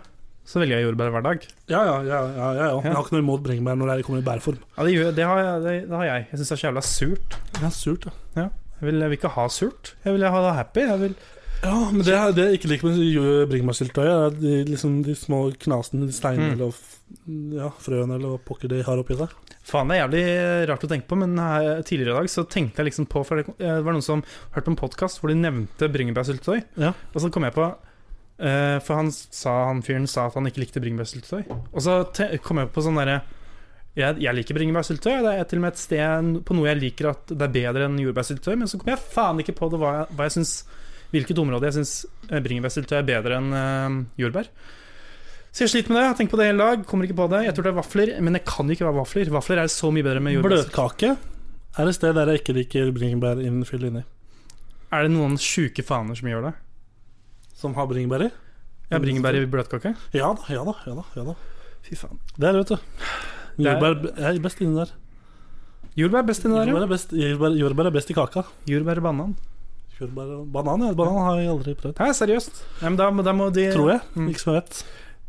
D: så velger jeg jordbær hver dag.
E: Ja, ja, ja. ja, ja, ja. Jeg har ikke noe imot bringebær når det kommer i bærform.
D: Ja, det, gjør, det, har, jeg, det, det har jeg. Jeg syns det er så jævla surt.
E: Det er surt, ja.
D: Jeg vil, jeg vil ikke ha surt. Jeg vil ha det happy. Jeg vil
E: ja men det, er- det jeg ikke liker med jo- bringebærsyltetøy, er de, liksom de små knasene, de steinene
D: Mm.
E: eller f- ja, frøene eller hva pokker de har oppi seg.
D: Faen, det er jævlig rart å tenke på, men her, tidligere i dag så tenkte jeg liksom på For det kom- eh, det var noen som hørte på en podkast hvor de nevnte bringebærsyltetøy.
E: Ja.
D: Og så kom jeg på eh, For han, sa, han fyren sa at han ikke likte bringebærsyltetøy. Og så te kom jeg på sånn derre jeg, jeg liker bringebærsyltetøy. Det er til og med et sted på noe jeg liker at det er bedre enn jordbærsyltetøy, men så kom jeg faen ikke på det hva jeg, hva jeg syns Hvilket område jeg syns eh, bringebærsyltetøy er bedre enn eh, jordbær. Så jeg sliter med det. Jeg har tenkt på det hele dag. Kommer ikke på det. Jeg tror det er vafler, men det kan ikke være vafler. Vafler er så mye bedre med jordbær.
E: Bløtkake er et sted der jeg ikke liker bringebær innfyll inni.
D: Er det noen sjuke faner som gjør det?
E: Som har bringebær i?
D: Ja, bringebær i bløtkake?
E: Ja da, ja da. ja da, ja da.
D: Fy faen.
E: Det er det, vet du.
D: Det er-
E: Jordbær b- er best inni der.
D: Jordbær er best i det der,
E: Jordbær
D: jo.
E: er best, jordbær, jordbær er best i kaka.
D: Jordbær og banan.
E: Jordbær og banan, ja. Banan har jeg aldri prøvd.
D: Hæ, seriøst? Nei, men da, må- da må de
E: Tror jeg.
D: Mm.
E: Ikke som jeg vet.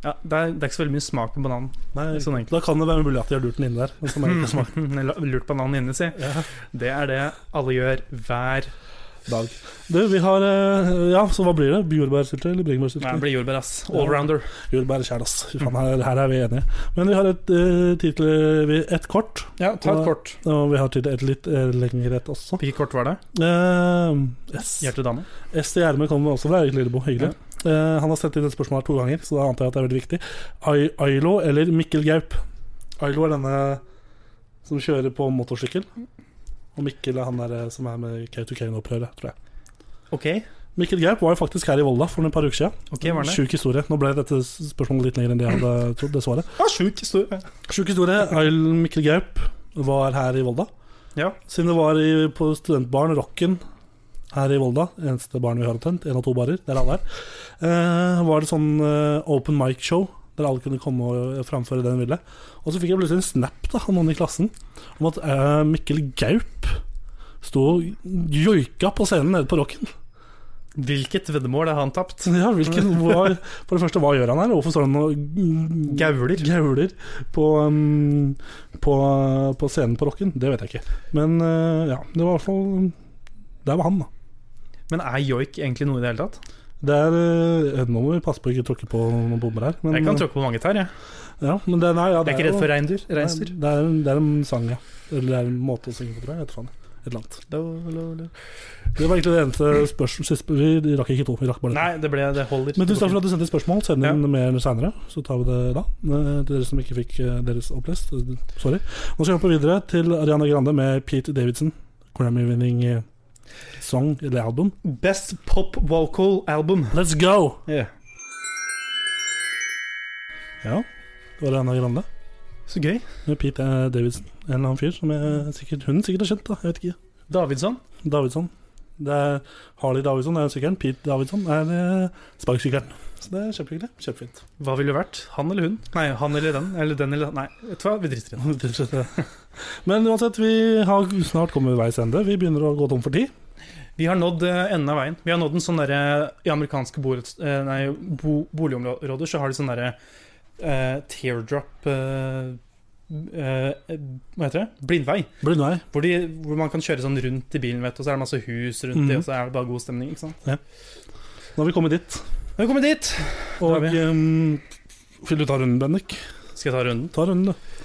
D: Ja, det, er, det er ikke så veldig mye smak på bananen.
E: Nei,
D: Sånn egentlig.
E: da kan det være mulig at de har lurt den inni der. men Som jeg ikke smaker.
D: La- Lurt bananen inni, si.
E: Ja.
D: Det er det alle gjør hver dag.
E: Du, vi har eh, Ja, så hva blir det? Jordbærsyltetøy eller
D: Nei, det
E: bringebærsyltetøy?
D: blir jordbær, ass. Allrounder.
E: Jordbær kjære, ass. Fy faen, her, her er vi enige. Men vi har et eh, titel vi- Et kort,
D: Ja, ta et kort.
E: og vi har til et litt eh, lengre et også.
D: Hvilket kort var det?
E: Eh, S.
D: Hjertedame?
E: S til Gjermund kommer også fra Erik Lillebo. Hyggelig. Eh, han har sendt inn et spørsmål her to ganger, så da antar jeg at det er veldig viktig. Ai- Ailo eller Mikkel Gaup? Ailo er denne som kjører på motorsykkel. Og Mikkel er han der eh, som er med Kautokeino-opprøret, tror jeg.
D: OK.
E: Mikkel Gaup var jo faktisk her i Volda for et par uker siden.
D: ok, var det?
E: Sjuk historie. Nå ble dette spørsmålet litt lenger enn det jeg hadde trodd, dessverre.
D: Ja, Ah, sjuk historie.
E: Sjuk historie. Ail Mikkel Gaup var her i Volda.
D: Ja.
E: Siden det var i, på studentbaren Rocken her i Volda, eneste baren vi har omtrent, én av to barer, der alle er, eh, var det sånn eh, open mic-show der alle kunne komme og eh, framføre det de ville. Og så fikk jeg plutselig en snap da, av noen i klassen om at eh, Mikkel Gaup sto og joika på scenen nede på Rocken.
D: Hvilket veddemål har han tapt?
E: Ja, hvilken, hva, for det første, hva gjør han her? Hvorfor står han og
D: Gauler.
E: gauler på, um, på, på scenen på rocken? Det vet jeg ikke. Men eh, ja, det var i hvert fall um, Der var han, da.
D: Men er joik egentlig noe i det hele tatt?
E: Det er, eh, nå må vi passe på å ikke tråkke på noen bomber her. Men, uh,
D: Jeg kan tråkke på mange tær, jeg.
E: Ja, men det, nei, ja,
D: Jeg
E: det
D: er ikke
E: jo-
D: redd for reindyr.
E: Nei,
D: Reinsdyr.
E: Det er, det er en sang, ja. Eller det er en måte å synge på, tror jeg. jeg. vet faen. Et eller annet. Det var egentlig det eneste spørsmålet siste Vi rakk ikke to. vi rakk bare dette.
D: Nei, det ble det holder.
E: Men tusen takk for at du sendte spørsmål. Send inn
D: Ja.
E: mer senere, så tar vi det da. Eh, Til dere som ikke fikk eh, deres opplest. eh, Sorry. Nå skal vi hoppe videre til Ariana Grande med Pete Davidson. Grammy-winning eh, song eller album.
D: Best pop vocal album.
E: Let's go!
D: Ja.
E: Ja, det var Ariana Grande
D: Så gøy.
E: med Pete eh, Davidson. En eller annen fyr som jeg, sikkert, hun sikkert har kjent, da. Jeg vet ikke.
D: Davidsson.
E: Davidsson. Det er Harley Davidsson er sykkelen. Pete Davidson er eh, sparkesykkelen. Så det er kjempehyggelig. Kjempefint.
D: Hva ville det vært? Han eller hun? Nei, han eller den. Eller den eller Nei, vet du hva? vi driter i det.
E: Rett og slett, ja. Men uansett, vi har snart kommet veis ende. Vi begynner å gå tom for tid.
D: Vi har nådd eh, enden av veien. Vi har nådd en sånn derre I amerikanske borets- eh, nei, bo, boligområder så har de sånn derre eh, teardrop eh, eh, Hva heter det? Blindvei.
E: Blindvei.
D: Hvor, de, hvor man kan kjøre sånn rundt i bilen, vet du, og så er det masse hus rundt
E: Mhm.
D: det, og så er det bare god stemning. ikke sant?
E: Nå har vi kommet dit.
D: Nå er vi kommet dit!
E: Og
D: Da er vi.
E: ehm, vil du ta runden, Bendik?
D: Skal jeg ta runden?
E: Ta runden, du.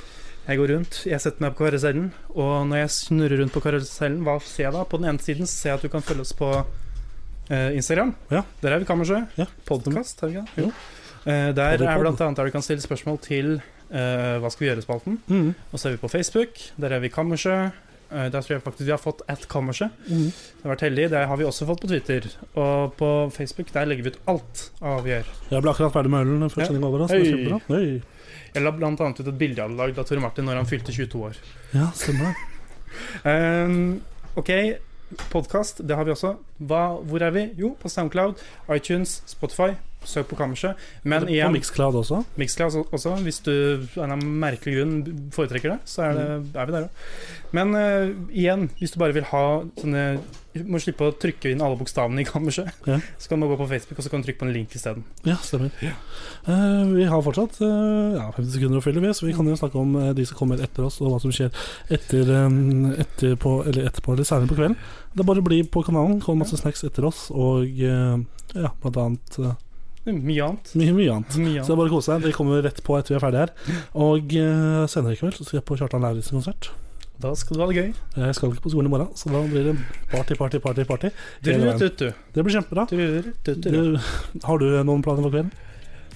D: Jeg går rundt, jeg setter meg på karusellen, og når jeg snurrer rundt på karusellen, hva ser jeg da? På den ene siden ser jeg at du kan følge oss på eh, Instagram.
E: Ja.
D: Der er vi Kammersø.
E: Ja.
D: Podkast, har vi ikke det?
E: Jo.
D: Eh, der
E: Podipod.
D: er blant annet der du kan stille spørsmål til eh, Hva skal vi gjøre-spalten.
E: Mm.
D: Og så er vi på Facebook. Der er vi Kammersø. Eh, der tror jeg faktisk vi har fått at Kammersø.
E: Mm.
D: Det har vært heldig. Det har vi også fått på Twitter. Og på Facebook der legger vi ut alt av hva vi gjør.
E: Jeg ble akkurat ferdig med ølen før
D: Ja.
E: sending over. da, Så altså. det er
D: Hei.
E: kjempebra. Hei.
D: Jeg la blant annet ut et bilde jeg hadde lagd av Tore Martin når han fylte 22 år.
E: Ja, stemmer det.
D: Ehm, ok, podkast, det har vi også. Hva, hvor er vi? Jo, på Soundcloud, iTunes, Spotify. Søk på Kammerset. Men
E: Og
D: igjen,
E: Mixcloud også.
D: Mixcloud også. Hvis du av en eller annen merkelig grunn foretrekker det, så er, det,
E: Mm.
D: er vi der òg. Men eh, igjen, hvis du bare vil ha sånne Du må slippe å trykke inn alle bokstavene i Kammerset.
E: Ja.
D: Så kan du gå på Facebook, og så kan du trykke på en link isteden.
E: Ja, stemmer. Eh, vi har fortsatt eh, ja, 50 sekunder å fylle, vi, så vi kan jo snakke om eh, de som kommer etter oss, og hva som skjer etter, eh, etterpå, eller etterpå eller senere på kvelden. Det er bare å bli på kanalen, kom masse snacks etter oss, og eh, ja, blant annet eh,
D: Mye annet.
E: mye, mye annet.
D: Mye
E: Så det
D: annet.
E: er bare å kose seg. Det kommer rett på etter vi er ferdige her. Og eh, senere i kveld så skal jeg på Kjartan Lauritsen konsert.
D: Da skal du ha det gøy.
E: Jeg skal ikke på skolen i morgen, så da blir det party, party, party. party hele veien.
D: Drurututu.
E: Det blir kjempebra.
D: Drurututu.
E: Du, har du noen planer for kvelden?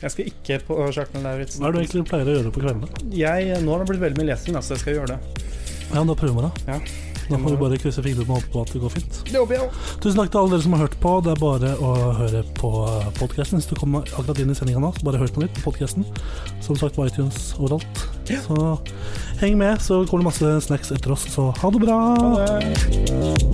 D: Jeg skal ikke på Sjarkman Lauritzen.
E: Hva er det du egentlig pleier å gjøre på kveldene?
D: Jeg, nå har det blitt veldig mye lesing, altså jeg skal gjøre det.
E: Ja, da prøver vi det.
D: Ja.
E: Da får vi bare krysse fingrene og håpe på at det går fint.
D: Det håper jeg òg.
E: Tusen takk til alle dere som har hørt på. Det er bare å høre på podkasten. Hvis du kommer akkurat inn i sendinga nå, så bare hør på nytt på podkasten. Som sagt på iTunes overalt. Så heng med, så kommer det masse snacks etter oss. Så ha det bra!
D: Ha det.